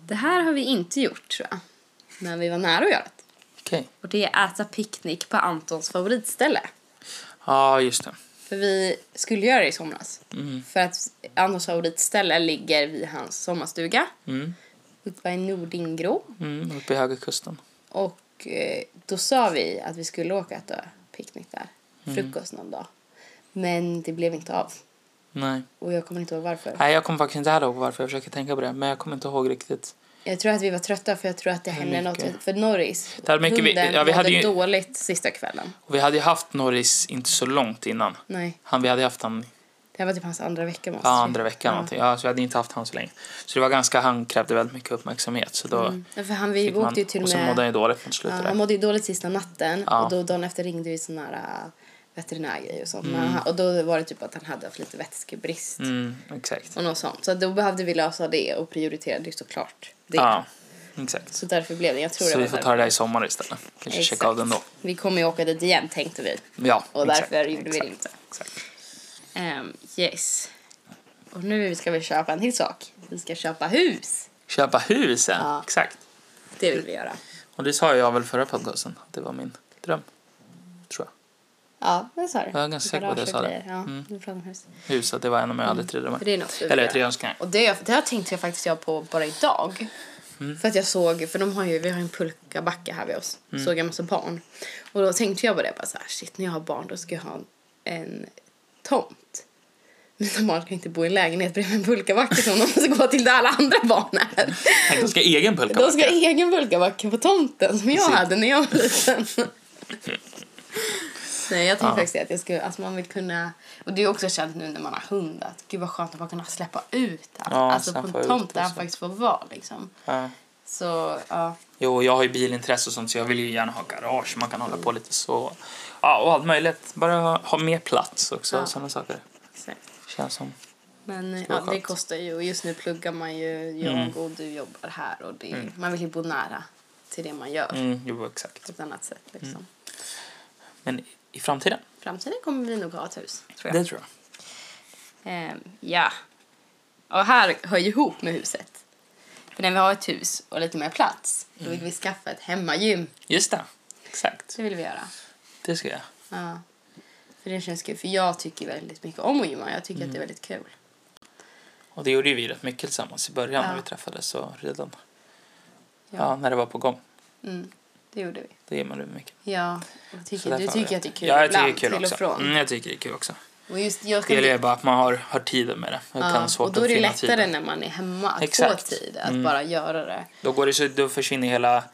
Det här har vi inte gjort tror jag. Men vi var nära att göra det.
Okej.
Och det är äta picknick på Antons favoritställe.
Ja, just det.
För vi skulle göra det i somras.
Mm.
För att Antons favoritställe ligger vid hans sommarstuga.
Mm.
Uppe i Nordingrå.
Mm, uppe i Höga Kusten.
Och eh, då sa vi att vi skulle åka och äta picknick där.
Mm.
Frukost någon dag. Men det blev inte av.
Nej.
Och jag kommer inte ihåg varför.
Nej, jag kommer faktiskt inte ihåg varför jag försöker tänka på det. Men jag kommer inte ihåg riktigt.
Jag tror att vi var trötta för jag tror att det hände
mycket.
något för Norris.
Det hade mycket- vi-
hunden
ja, vi hade
mådde
ju-
dåligt sista kvällen.
Och vi hade ju haft Norris inte så långt innan.
Nej,
Han, vi hade haft han
det här var typ hans andra vecka måste
ja,
vi-
andra veckan. Någonting. Ja, så vi hade inte haft han så länge. Så det var ganska, han krävde väldigt mycket uppmärksamhet. Så då
Ja, för han, Mm. vi
fick man,
åkte ju till
och så
med...
mådde han ju dåligt mot
Ja,
slutet.
han
där.
mådde ju dåligt sista natten
Ja.
och då dagen efter ringde vi sån här äh, veterinärgrej och sånt. Men han, och då var det typ att han hade haft lite vätskebrist
Mm, exakt.
och något sånt. Så då behövde vi lösa det och prioriterade ju såklart det.
Ja, exakt.
Så därför blev det, jag tror
Så
det
vi
var
får
därför.
ta det där i sommar istället. Kanske
Exakt.
checka av den då.
Vi kommer ju åka dit igen tänkte vi.
Ja,
Och
exakt,
därför gjorde vi
exakt,
det inte.
Exakt.
Ehm, yes. Och nu ska vi köpa en till sak. Vi ska köpa hus.
Köpa husen,
Ja.
exakt.
Det vill vi göra.
Och det sa jag väl förra podcasten, att det var min dröm. Tror jag.
Ja, det sa du.
Jag är ganska säker på att jag sa det. Mm.
Garage och grejer. Ja, vi pratar om hus.
Hus, att det var en av mina aldrig tre drömmar.
Mm. För det är något du vill
Eller
göra.
tre önskningar.
Och det, det här tänkte jag faktiskt jag på bara idag. För att jag såg, för de har ju, vi har en pulkabacke här vid oss. Såg jag en massa barn. Och då tänkte jag på det, bara så här, shit när jag har barn då ska jag ha en, en tomt. Mina barn ska inte bo i en lägenhet bredvid en pulkabacke som de måste gå till där alla andra barn är.
Tänk, de ska ha egen pulka.
De ska ha egen pulkabacke på tomten som jag
Precis.
hade när jag var liten. Nej, jag tänkte faktiskt det, att jag skulle, alltså man vill kunna... Och det är också känt nu när man har hund att gud vad skönt att man kunna släppa ut allt.
Ja,
alltså
släppa
på en
ut
tomt där
och
han
så.
faktiskt får vara liksom.
Ja.
Så ja,
Jo, jag har ju bilintresse och sånt så jag vill ju gärna ha garage. Man kan hålla på lite så. Ja, och allt möjligt. Bara ha, ha mer plats också
Ja.
och sådana saker.
exakt.
Känns som.
Men
vara
ja, det
skönt. Mm.
kostar ju och just nu pluggar man ju, jag och du jobbar här och det, man vill ju bo nära till det man gör
Mm, jo, exakt.
på ett annat sätt liksom.
Men i framtiden,
Framtiden kommer vi nog ha ett hus, tror jag.
det tror jag.
Ehm, ja. Och här hör ju ihop med huset. För när vi har ett hus och lite mer plats, då
Mm.
vill vi skaffa ett hemmagym.
Just det. Exakt.
Det vill vi göra.
Det ska jag.
Ja. För det känns kul, för jag tycker väldigt mycket om att gymma. Jag tycker att det är
Mm.
väldigt kul.
Och det gjorde ju vi rätt mycket tillsammans i början
Ja.
när vi träffades och redan
Ja.
ja. när det var på gång.
Mm, det gjorde vi.
Det gimmade vi mycket.
Ja, och
Så
tycker, du
därför-
tycker att det är kul
ja, jag tycker
ibland,
det är kul
till
också.
och från.
Mm, jag tycker det är kul också.
Och, just, jag
Det
kan,
gäller ju bara att man har, har tiden med det. Jag
ja,
kan svårt
och då är
att
det
finna
lättare
tiden.
när man är hemma att
Exakt. Mm.
få tid att bara göra det.
Då, går det så, då försvinner hela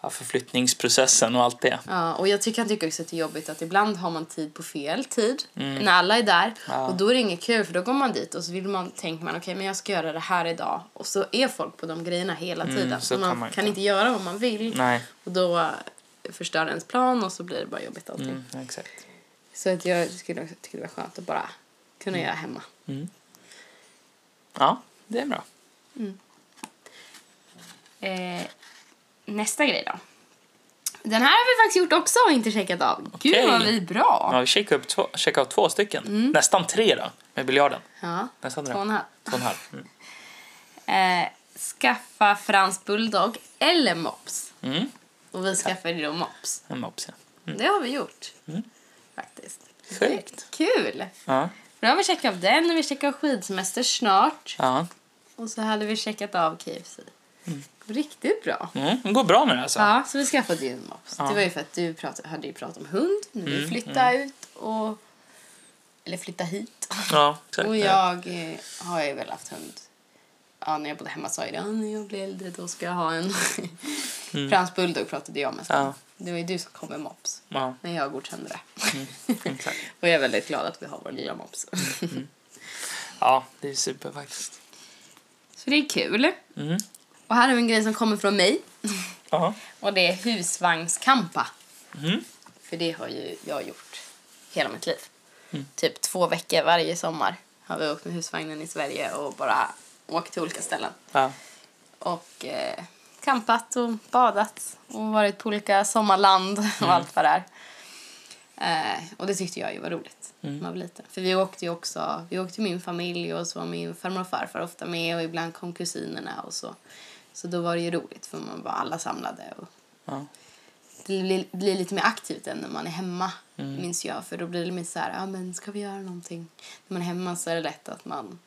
ja, förflyttningsprocessen och allt det.
Ja, och jag tycker, kan tycka också att det är jobbigt att ibland har man tid på fel tid
Mm.
när alla är där. Och då är det inget kul för då går man dit och så vill man, tänker man okej men jag ska göra det här idag. Och så är folk på de grejerna hela tiden.
Mm, så
så man
kan
kan,
man
inte göra vad man vill.
Nej,
Och då eh, förstör ens plan och så blir det bara jobbigt allting.
mm, exakt.
Så att jag skulle tycka det var skönt att bara kunna göra hemma.
Ja, det är bra.
Eh, nästa grej då. Den här har vi faktiskt gjort också och inte checkat av.
Okej.
Gud vad vi är bra!
Ja, Mm. vi checkar, upp två, checkar av två stycken. Nästan tre då, med biljarden.
Ja,
Nästan tre.
två och en halv.
Två och en halv. Mm.
eh, skaffa fransk bulldog eller mops.
Mm.
Och vi skaffade då mops.
En mops, ja.
Det har vi gjort. Faktiskt.
Mm. Sjukt.
Det är Kul!
Ja.
För då har vi checkat av den och vi checkar av skidsemester snart.
ja.
Och så hade vi checkat av KFC. Riktigt bra.
Mm. Det går bra nu alltså.
Ja, så vi skaffade ju en mops. Det var ju för att du pratade, hade ju pratat om hund. Nu vill
Mm,
flytta ut och... Eller flytta hit.
Oh, Ja, exakt.
Och jag eh, har ju väl haft hund. Ja, när jag bodde hemma sa jag det. "Ja, När jag blir äldre då ska jag ha en. Fransk bulldog pratade jag med.
Mm. Ja.
Det var ju du som kom med mops.
Ja,
Men jag godkände det.
Mm, exakt. Mm,
och jag är väldigt glad att vi har vår lilla mops.
Ja, det är super faktiskt.
Så det är kul.
Mm.
Och här har vi en grej som kommer från mig.
Ja.
Och det är husvagnskampa.
Mm.
För det har ju jag gjort hela mitt liv.
Mm.
Typ två veckor varje sommar har vi åkt med husvagnen i Sverige och bara åkt till olika ställen.
Ja.
och eh, campat och badat och varit på olika sommarland och allt vad det är. Eh, och det tyckte jag ju var roligt när man var liten. För vi åkte ju också, vi åkte min familj och så var min farmor och farfar ofta med och ibland kom kusinerna och så. Så då var det ju roligt för man var alla samlade och
Ja.
det blir, blir lite mer aktivt än när man är hemma.
Mm.
Minns jag. För då blir det mer så här, ja men ska vi göra någonting? När man är hemma så är det lätt att man,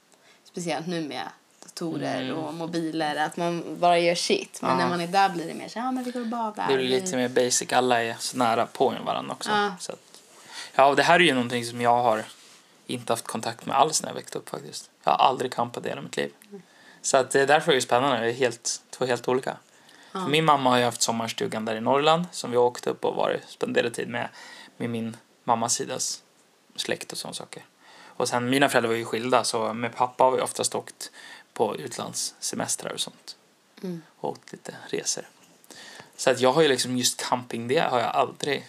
speciellt nu med datorer
Mm.
och mobiler, att man bara gör shit. Men
Ja.
när man är där blir det mer så här, ja men vi går och badar.
Det blir lite mer basic. Alla är så nära på varandra också.
Mm. Ja.
Så att, ja, och det här är ju någonting som jag har inte haft kontakt med alls när jag växte upp faktiskt. Jag har aldrig campat i hela mitt liv.
Mm.
Så att det är därför är det spännande. Det är helt, två helt olika.
Ja.
För Min mamma har ju haft sommarstugan där i Norrland som vi åkte upp och varit, spenderade tid med, med min mammas sidas släkt och sådana saker. Och sen mina föräldrar var ju skilda så med pappa har vi oftast åkt på utlandssemestrar och sånt.
Mm.
Och åkt lite resor. Så att jag har ju liksom just camping det har jag aldrig,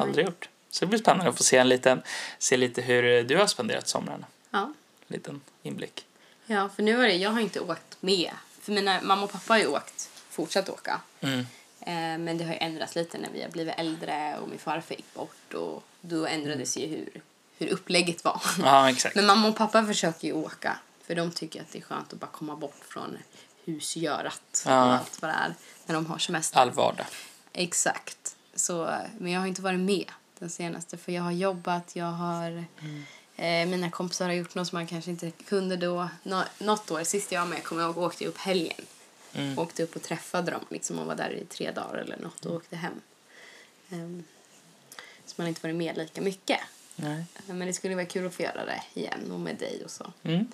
aldrig gjort. Så det blir spännande att få se en liten, se lite hur du har spenderat somrarna.
Ja.
En liten inblick.
ja, för nu var det, jag har inte åkt med. För mina, mamma och pappa har ju åkt, fortsatt åka.
Mm.
Eh, Men det har ju ändrats lite när vi har blivit äldre och min farfar gick bort och då ändrades
Mm.
ju hur, hur upplägget var.
Ja, exakt.
Men mamma och pappa försöker ju åka för de tycker att det är skönt att bara komma bort från husgörat och
Ja.
allt vad det är när de har semester.
All vardag.
Exakt. Så, men jag har inte varit med den senaste för jag har jobbat, jag har...
Mm.
Eh, mina kompisar har gjort något som man kanske inte kunde då. Nå, något år, sist jag var med, kommer jag ihåg, åkte jag upp helgen.
Mm.
Åkte upp och träffade dem liksom, och var där i tre dagar eller något och åkte hem. Ehm, så man har inte varit med lika mycket.
Nej.
Eh, Men det skulle vara kul att få göra det igen och med dig och så.
Mm.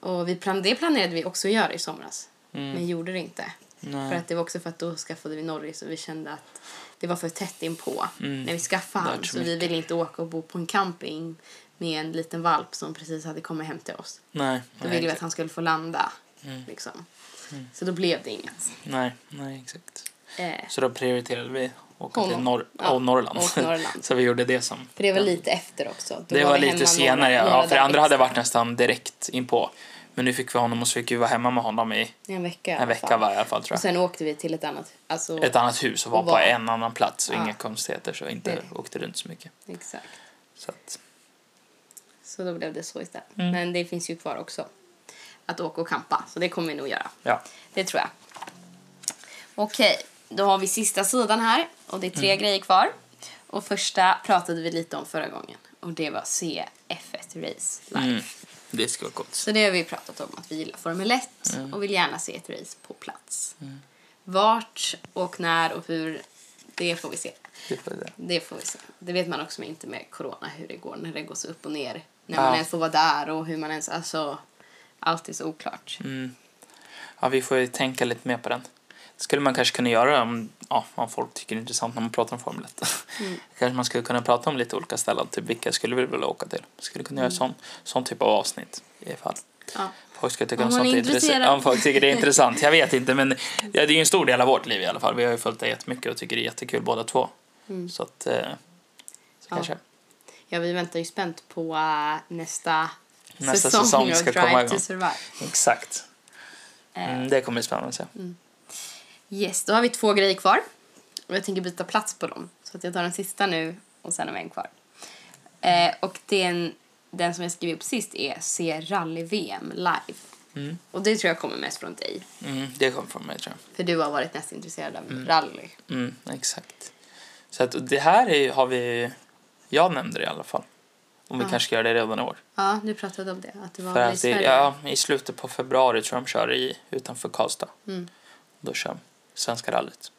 Och vi plan det planerade vi också att göra i somras.
Mm.
Men gjorde det inte.
Nej.
För att det var också för att då skaffade vi Norris och vi kände att det var för tätt inpå
Mm.
när vi skaffade
Det var
han.
för
Så vi
mycket.
ville inte åka och bo på en camping med en liten valp som precis hade kommit hem till oss.
Nej.
Då ville
nej,
vi att
exakt.
han skulle få landa.
Mm.
Liksom. Så då blev det inget.
nej, nej, exakt.
Eh,
Så då prioriterade vi åka till
Honom.
norr-
Ja,
och Norrland.
och Norrland.
så vi gjorde det som...
för det var lite efter också. Då
Det var,
vi hemma
lite senare,
några- några
ja, för
dagar
andra hade
extra.
varit nästan direkt inpå. Men nu fick vi honom och så fick vi vara hemma med honom i
en vecka. i
en
alla
vecka
fall.
var i alla fall tror
Och
jag.
sen åkte vi till ett annat. Alltså,
Ett annat hus och var
och
på
var-
en annan plats och
Ja.
inga konstigheter så inte
Nej.
åkte runt så mycket.
Exakt.
Så att,
Så då blev det så istället.
Mm.
Men det finns ju kvar också. Att åka och kampa. Så det kommer vi nog göra.
ja.
Det tror jag. Okej, då har vi sista sidan här. Och det är
Mm.
tre grejer kvar. Och första pratade vi lite om förra gången. Och det var CF1 Race Live.
Mm. Det skulle vara coolt.
Så det har vi pratat om att vi gillar Formel 1
Mm.
och vill gärna se ett race på plats. Vart och när och hur, det får vi se.
Det får vi se.
Det får vi se. Det vet man också inte med corona hur det går när det går så upp och ner. När
Ja.
man ens får vara där och hur man ens, alltså allt är så oklart.
Mm. Ja, vi får ju tänka lite mer på den. Det skulle man kanske kunna göra om, ja, om folk tycker det är intressant när man pratar om Formel 1. kanske man skulle kunna prata om lite olika ställen, typ vilka skulle vi vilja åka till? Skulle kunna göra sån, sån typ av avsnitt i alla fall.
Ja.
Folk skulle tycka
Om
om
man
sånt
är
är intressant.
intresserad.
Om folk tycker det är intressant, jag vet inte men ja, det är ju en stor del av vårt liv i alla fall. Vi har ju följt det jättemycket och tycker det är jättekul båda två. Så att, eh, så
Mm. Ja.
kanske.
Ja, vi väntar ju spänt på eh, nästa,
Nästa
säsong,
säsong
av
ska
Drive
komma
to
igång.
Survive.
Exakt.
Eh.
Mm, det kommer bli spännande att se.
Yes, då har vi två grejer kvar. Och jag tänker byta plats på dem. Så att jag tar den sista nu och sen har vi en kvar. Eh, och den, den som jag skrev upp sist är se rally-VM live. Och det tror jag kommer mest från dig.
Mm, det kommer från mig tror jag.
För du har varit mest intresserad av rally.
Mm, exakt. Så att det här är, har vi... Jag nämnde det i alla fall. Om vi
Ja.
kanske gör det redan i år.
Ja, du pratade om det. Att det var
För
väl i
att det,
Sverige.
ja, I slutet på februari tror jag de kör i, utanför Karlstad.
Mm.
Då kör Svenska rallyt.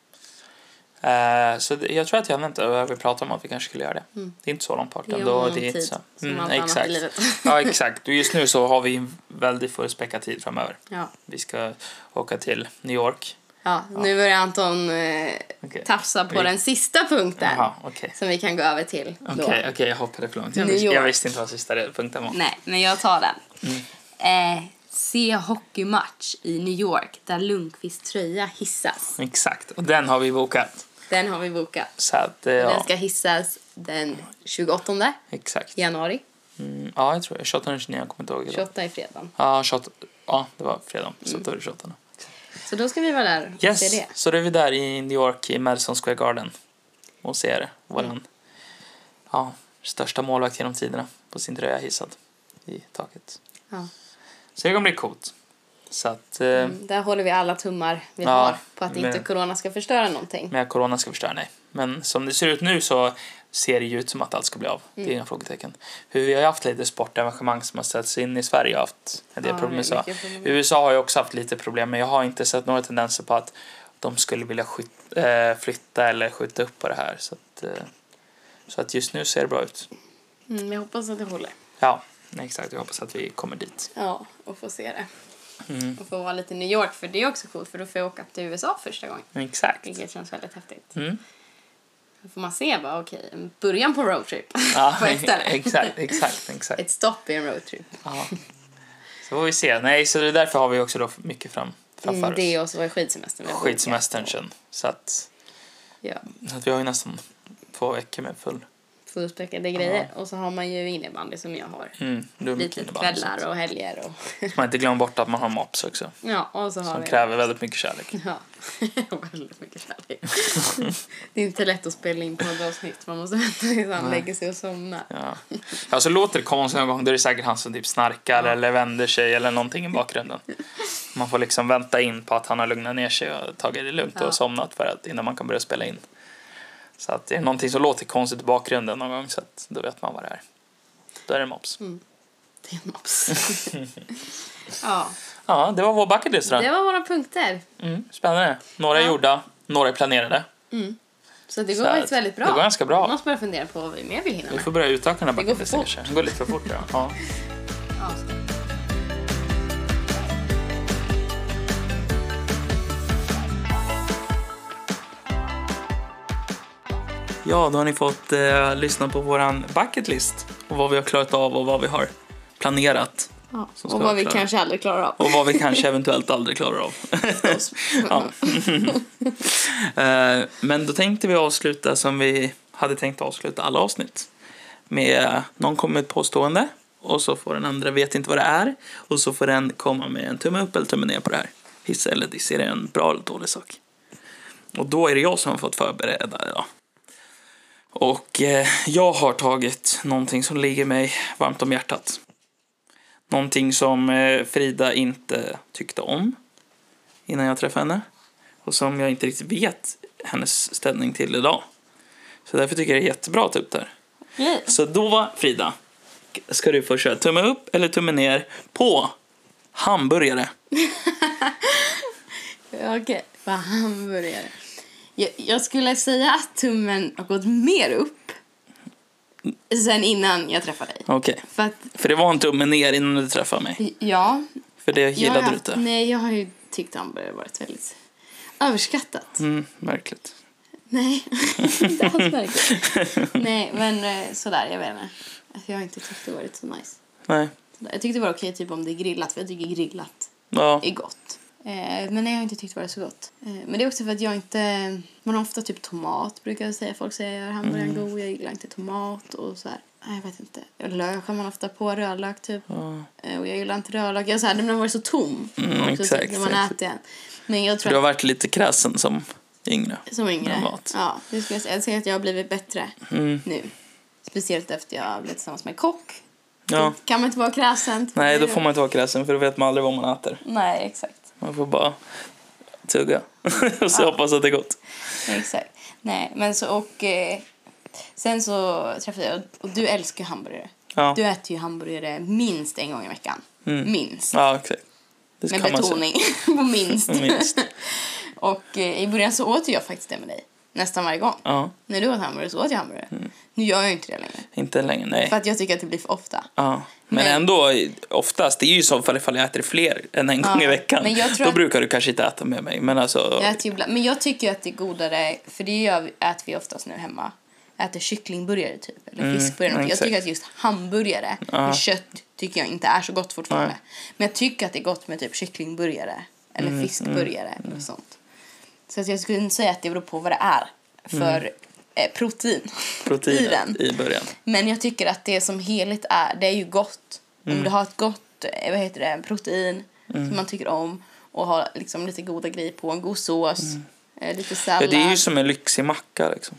Eh, så det, jag tror att jag har nämnt det och vi pratade om att vi kanske skulle göra det.
Mm.
Det är inte så långt bort
Det är
ändå.
om
Det är inte
tid,
så.
som
Mm,
allt annat i
exakt.
livet.
ja, exakt. Och just nu så har vi en väldigt fullspäckad tid framöver.
Ja.
Vi ska åka till New York.
ja, nu börjar Anton eh,
Okej.
tafsa på
Vi-
den sista punkten.
Jaha, okej.
Som vi kan gå över till då.
Okej, okej, jag hoppade för långt. Jag,
New
visste, jag
York.
visste inte vad sista punkten var.
Nej, men jag tar den.
Mm.
Eh, se hockeymatch i New York där Lundqvists tröja hissas.
Exakt, och den har vi bokat.
Den har vi bokat.
Så att, eh, ja,
Den ska hissas den 28
exakt.
januari.
Mm, ja, jag tror det. 28 eller 29, jag kommer inte ihåg. idag.
28 i fredag.
Ja, 28, ja, det var fredag.
Mm.
Så då är det 28. nu.
Så då ska vi vara där och
Yes,
se det.
så då är vi där i New York i Madison Square Garden och ser våran ja, största målvakt genom tiderna på sin tröja hissad i taket.
Ja.
Så det kommer bli coolt. Så att, eh,
Mm, Där håller vi alla tummar vi
Ja,
har på att inte
men-
corona ska förstöra någonting.
men att corona ska förstöra, nej. Men som det ser ut nu så ser det ju ut som att allt ska bli av. Det är
Mm.
inga frågetecken. För vi har ju haft lite sportevenemang som har ställts in i Sverige och haft en del
Ja,
problem med
mycket
USA.
problem.
USA har ju också haft lite problem men jag har inte sett några tendenser på att de skulle vilja skyt- eh, flytta eller skjuta upp på det här. Så att, eh, så att just nu ser det bra ut.
Mm, jag hoppas att det håller.
Ja, exakt. Jag hoppas att vi kommer dit.
Ja, och få se det.
Mm.
Och få vara lite i New York, för det är också coolt för då får jag åka till USA första gången.
Exakt.
Vilket känns väldigt häftigt.
Mm.
Då får man se bara, okej, en början på roadtrip.
Ja,
på ett ställe.
exakt, exakt, exakt.
Ett stopp i en roadtrip.
Ja. Så får vi se. Nej, så det är därför har vi också då mycket fram, framför
Mm, det
oss.
och så var det skidsemestern. vi har bokat.
Skidsemestern sen. Så att,
Ja,
så att vi har ju nästan två veckor med full.
fullspäckade grejer. Och så har man ju innebandy som jag har.
Mm, det är mycket
Lite
innebandy. så att-
kvällar och helger och...
Man inte glömmer bort att man har mops också.
Ja, och så har
Som
vi...
kräver väldigt mycket kärlek.
Ja, väldigt mycket kärlek. det är inte lätt att spela in på ett avsnitt. Man måste vänta tills han lägger sig och somnar.
Ja. ja, så låter det konstigt någon gång. Då är det säkert han som typ snarkar eller vänder sig eller någonting i bakgrunden. Man får liksom vänta in på att han har lugnat ner sig och tagit det lugnt
Ja.
och somnat för att, innan man kan börja spela in. Så att det är någonting som låter konstigt i bakgrunden någon gång så att då vet man vad det är. Då är det mops.
Det är en mops. ja,
Ja, det var vår bucketlist då.
det var våra punkter.
Mm, spännande. Några är
Ja.
gjorda, några är planerade.
Så det
Så
går faktiskt
att
väldigt bra.
det går ganska bra.
Man ska börja fundera på vad vi mer vill hinna
Vi
med.
får börja utöka den här
Det går för
bucketlisten
fort.
kanske. Det går lite för fort. Ja. Ja.
Ja, ska-
Ja, då har ni fått eh, lyssna på våran bucketlist och vad vi har klarat av och vad vi har planerat
Ja.
Som ska
Och vad vi
vara klara.
kanske aldrig klarar av.
och vad vi kanske eventuellt aldrig klarar av. ja. Eh, Men då tänkte vi avsluta som vi hade tänkt avsluta alla avsnitt med någon kommer med ett påstående och så får den andra vet inte vad det är och så får den komma med en tumme upp eller tumme ner på det här. Hiss eller diss, är det en bra eller dålig sak? Och då är det jag som har fått förbereda idag. Och eh, jag har tagit någonting som ligger mig varmt om hjärtat. Någonting som eh, Frida inte tyckte om innan jag träffade henne. Och som jag inte riktigt vet hennes ställning till idag. Så därför tycker jag det är jättebra typ där.
Okej.
Så då Frida, ska du få köra tumme upp eller tumme ner på hamburgare.
Okej, vad hamburgare. Jag, jag skulle säga att tummen har gått mer upp sen innan jag träffade dig.
Okej,
För att,
för det var en tumme ner innan du träffade mig.
ja,
För det
jag har
gillade du
haft-
inte.
Nej, jag har ju tyckt hamburgare varit väldigt överskattat.
Mm, märkligt.
Nej, inte alls verkligen. nej, men eh, sådär, jag vet inte. Alltså, jag har inte tyckt det varit så nice.
Nej.
Sådär. Jag tyckte det var okej typ om det är grillat, för jag tycker grillat
Ja.
är gott. Eh, men nej, jag har inte tyckt det var så gott. Eh, men det är också för att jag inte... Man har ofta typ tomat, brukar jag säga. Folk säger jag gör hamburgaren
Mm.
god, jag gillar inte tomat och så här. Nej, jag vet inte. Och Lök har man ofta på, rödlök typ.
ja.
Eh, och jag gillar inte rödlök. Jag så här, den har varit så tom.
Mm,
också, typ,
exakt,
När man
exakt.
äter den. Men jag
Du har
tror att...
varit lite kräsen som yngre.
Som yngre.
med mat.
Ja, det skulle jag säga. Jag säger att jag har blivit bättre
Mm.
nu. Speciellt efter jag blev tillsammans med en kock.
Ja.
Kan man inte vara kräsen?
Nej, då får man inte vara kräsen för då vet man aldrig vad man äter.
Nej, exakt.
Man får bara tugga och så hoppas att det är gott.
Exakt. Nej, men så och... Eh, sen så träffade jag... Och du älskar ju hamburgare.
Ja,
Du äter ju hamburgare minst en gång i veckan.
Mm.
Minst.
ja exakt. Det
Med
kan man Mm, säga.
betoning på minst.
Minst.
och eh, i början så åt ju jag faktiskt det med dig. Nästan varje gång.
Ja,
När du åt hamburgare så åt jag hamburgare. Nu gör jag ju inte det längre.
inte längre, Mm. nej.
För att jag tycker att det blir för ofta.
Ja. Men
Men-
ändå, oftast, det är ju som fall ifall jag äter fler än en
Ja,
gång i veckan.
men jag tror
Då
att-
brukar du kanske inte äta med mig. Men alltså,
Jag äter ju ibland- men jag tycker ju att det är godare, för det gör vi, äter vi oftast nu hemma. Äter kycklingburgare typ, eller
Mm,
fiskburgare. jag
exakt.
tycker att just hamburgare
Ja.
med kött tycker jag inte är så gott fortfarande.
Nej. Mm,
Men jag tycker att det är gott med typ kycklingburgare eller fiskburgare eller sånt. Så att jag skulle inte säga att det beror på vad det är för
Mm.
eh, protein i den.
protein i början.
Men jag tycker att det som helhet är, det är ju gott.
Mm.
Om du har ett gott, eh, vad heter det, protein som man tycker om och har liksom lite goda grejer på, en god sås, eh, lite
Mm. Ja,
sallad.
det är ju som en lyxig macka liksom.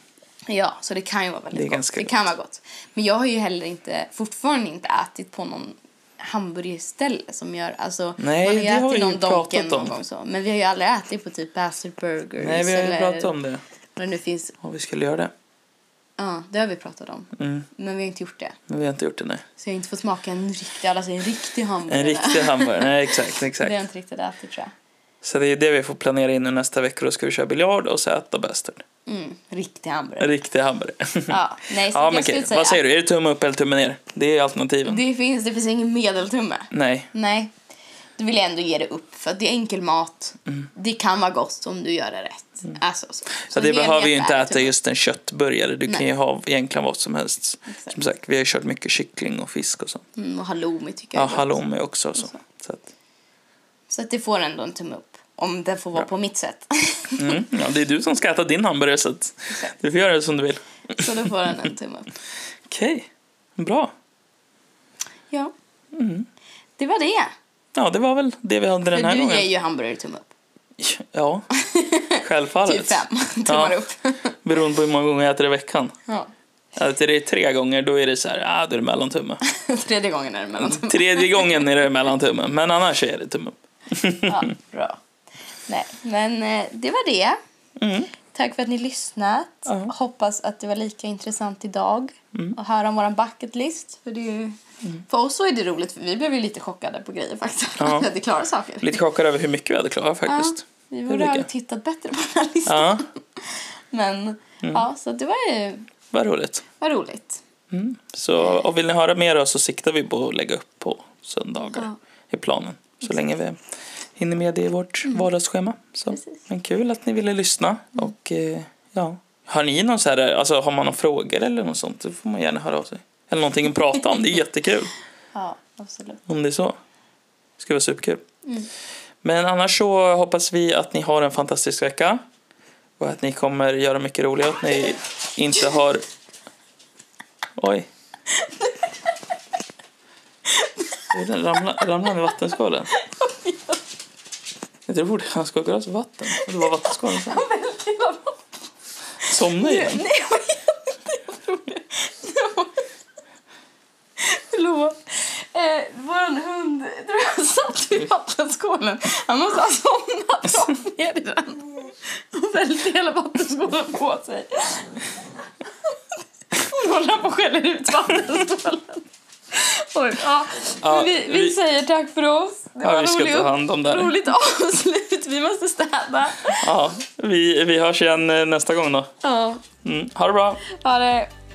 Ja, så det kan ju vara väldigt
Det är
gott.
ganska
Det kan vara gott. Men jag har ju heller inte, fortfarande inte ätit på någon hamburgerställe som gör... Alltså,
Nej,
man har
det
ju
har vi
ätit
ju
någon Donken
pratat
någon
om.
gång så. Men vi har ju aldrig ätit på typ Bastard Burgers
Nej, vi har ju
eller-
pratat om det.
Men nu finns...
Om vi skulle göra det.
Ja, det har vi pratat om.
Mm,
Men vi har inte gjort det.
men vi har inte gjort det nu.
Så jag har inte fått smaka en riktig... Alla säger en riktig hamburgare.
En riktig hamburgare. Nej, exakt,
Det har jag
exakt.
inte riktigt ätit tror
Så det är det vi får planera in nu nästa vecka. Då ska vi köra biljard och så äta bastard.
jag. Mm, riktig hamburgare.
En riktig hamburgare.
Ja, nej, så
Ja,
jag
men
skulle
okej.
säga-
Vad säger du? Är det tumme upp eller tumme ner? Det är alternativen.
Det finns, det finns ingen medeltumme.
Nej.
Nej, då vill jag ändå ge det upp för att det är enkel mat. Det kan vara gott om du gör det rätt. Alltså, så.
Mm. Så
Så
det
helhet
behöver ju
är
inte äta
tumme.
just en köttburgare. Du kan
Nej.
ju ha egentligen vad som helst.
Exakt.
Som sagt, vi har ju kört mycket kyckling och fisk och så.
Mm, och halloumi tycker jag
Ja,
är gott. Alltså.
halloumi också och så.
så.
så att,
Så att det får ändå en tumme upp. Om den får vara på mitt sätt.
mm. ja, det är du som ska äta din hamburgare så att
Exakt.
du får göra det som du vill.
så då får den en tumme upp.
Okej, bra.
Ja. Det var det.
Ja, det var väl det vi hade Mm. den
För
här
du
gången.
ger ju hamburgare tumme upp.
Ja, självfallet.
Typ fem tummar
Ja.
upp.
Beroende på hur många gånger jag äter i veckan.
Ja.
Äter det tre gånger, då är det så här, ah, då är det mellantumme.
Tredje gången är det mellan tummar.
Tredje gången är det mellantumme, men annars är det tumme upp. Mm.
Ja, bra. Nej, men eh, det var det.
Mm.
Tack för att ni lyssnat.
Ja. Mm.
Hoppas att det var lika intressant idag att höra om vår bucket list. För, det är ju, för oss så är det roligt, för vi blev ju lite chockade på grejer faktiskt.
Ja.
Att vi klarar saker.
Lite chockad över hur mycket vi hade klarat
Ja,
faktiskt.
vi
Det
borde ha
tycker
tittat bättre på den här listan.
Ja, Mm.
Men ja, så det var ju
vad roligt. Mm.
var roligt.
Så och vill ni höra mer då så siktar vi på att lägga upp på söndagar
Ja.
i planen. Så länge vi hinner med det i vårt vardagsschema. Så.
Mm. Precis.
Men kul att ni ville lyssna. Och, eh, ja. Har ni någon så här, alltså har man några frågor eller något sånt, då får man gärna höra av sig. Eller någonting att prata om, det är jättekul.
Ja, absolut.
Om det är så. Det skulle vara superkul.
Mm.
Men annars så hoppas vi att ni har en fantastisk vecka. Och att ni kommer göra mycket roligt. Att ni inte har... Oj. Oj, Den ramlade, ramlade han i vattenskålen? Jag trodde han skulle gå av vatten. Och det var vattenskålen sen. Somnade i den.
Nej, jag vet inte. Jag tror det. Det var- Förlåt. Eh, Vår hund tror jag satt i vattenskålen. Han måste ha somnat och ner i den. Och välte hela vattenskålen på sig. Hon håller på och skäller ut vattenskålen. Oj, ja.
Ja,
Men vi, vi
vi-
säger tack för oss. Det var
Ja,
en
vi ska
rolig
ta
upp-
hand om det här.
roligt avslut. Vi måste städa.
Ja, vi, vi hörs igen eh, nästa gång då.
Ja,
Mm. Ha det bra.
ha det.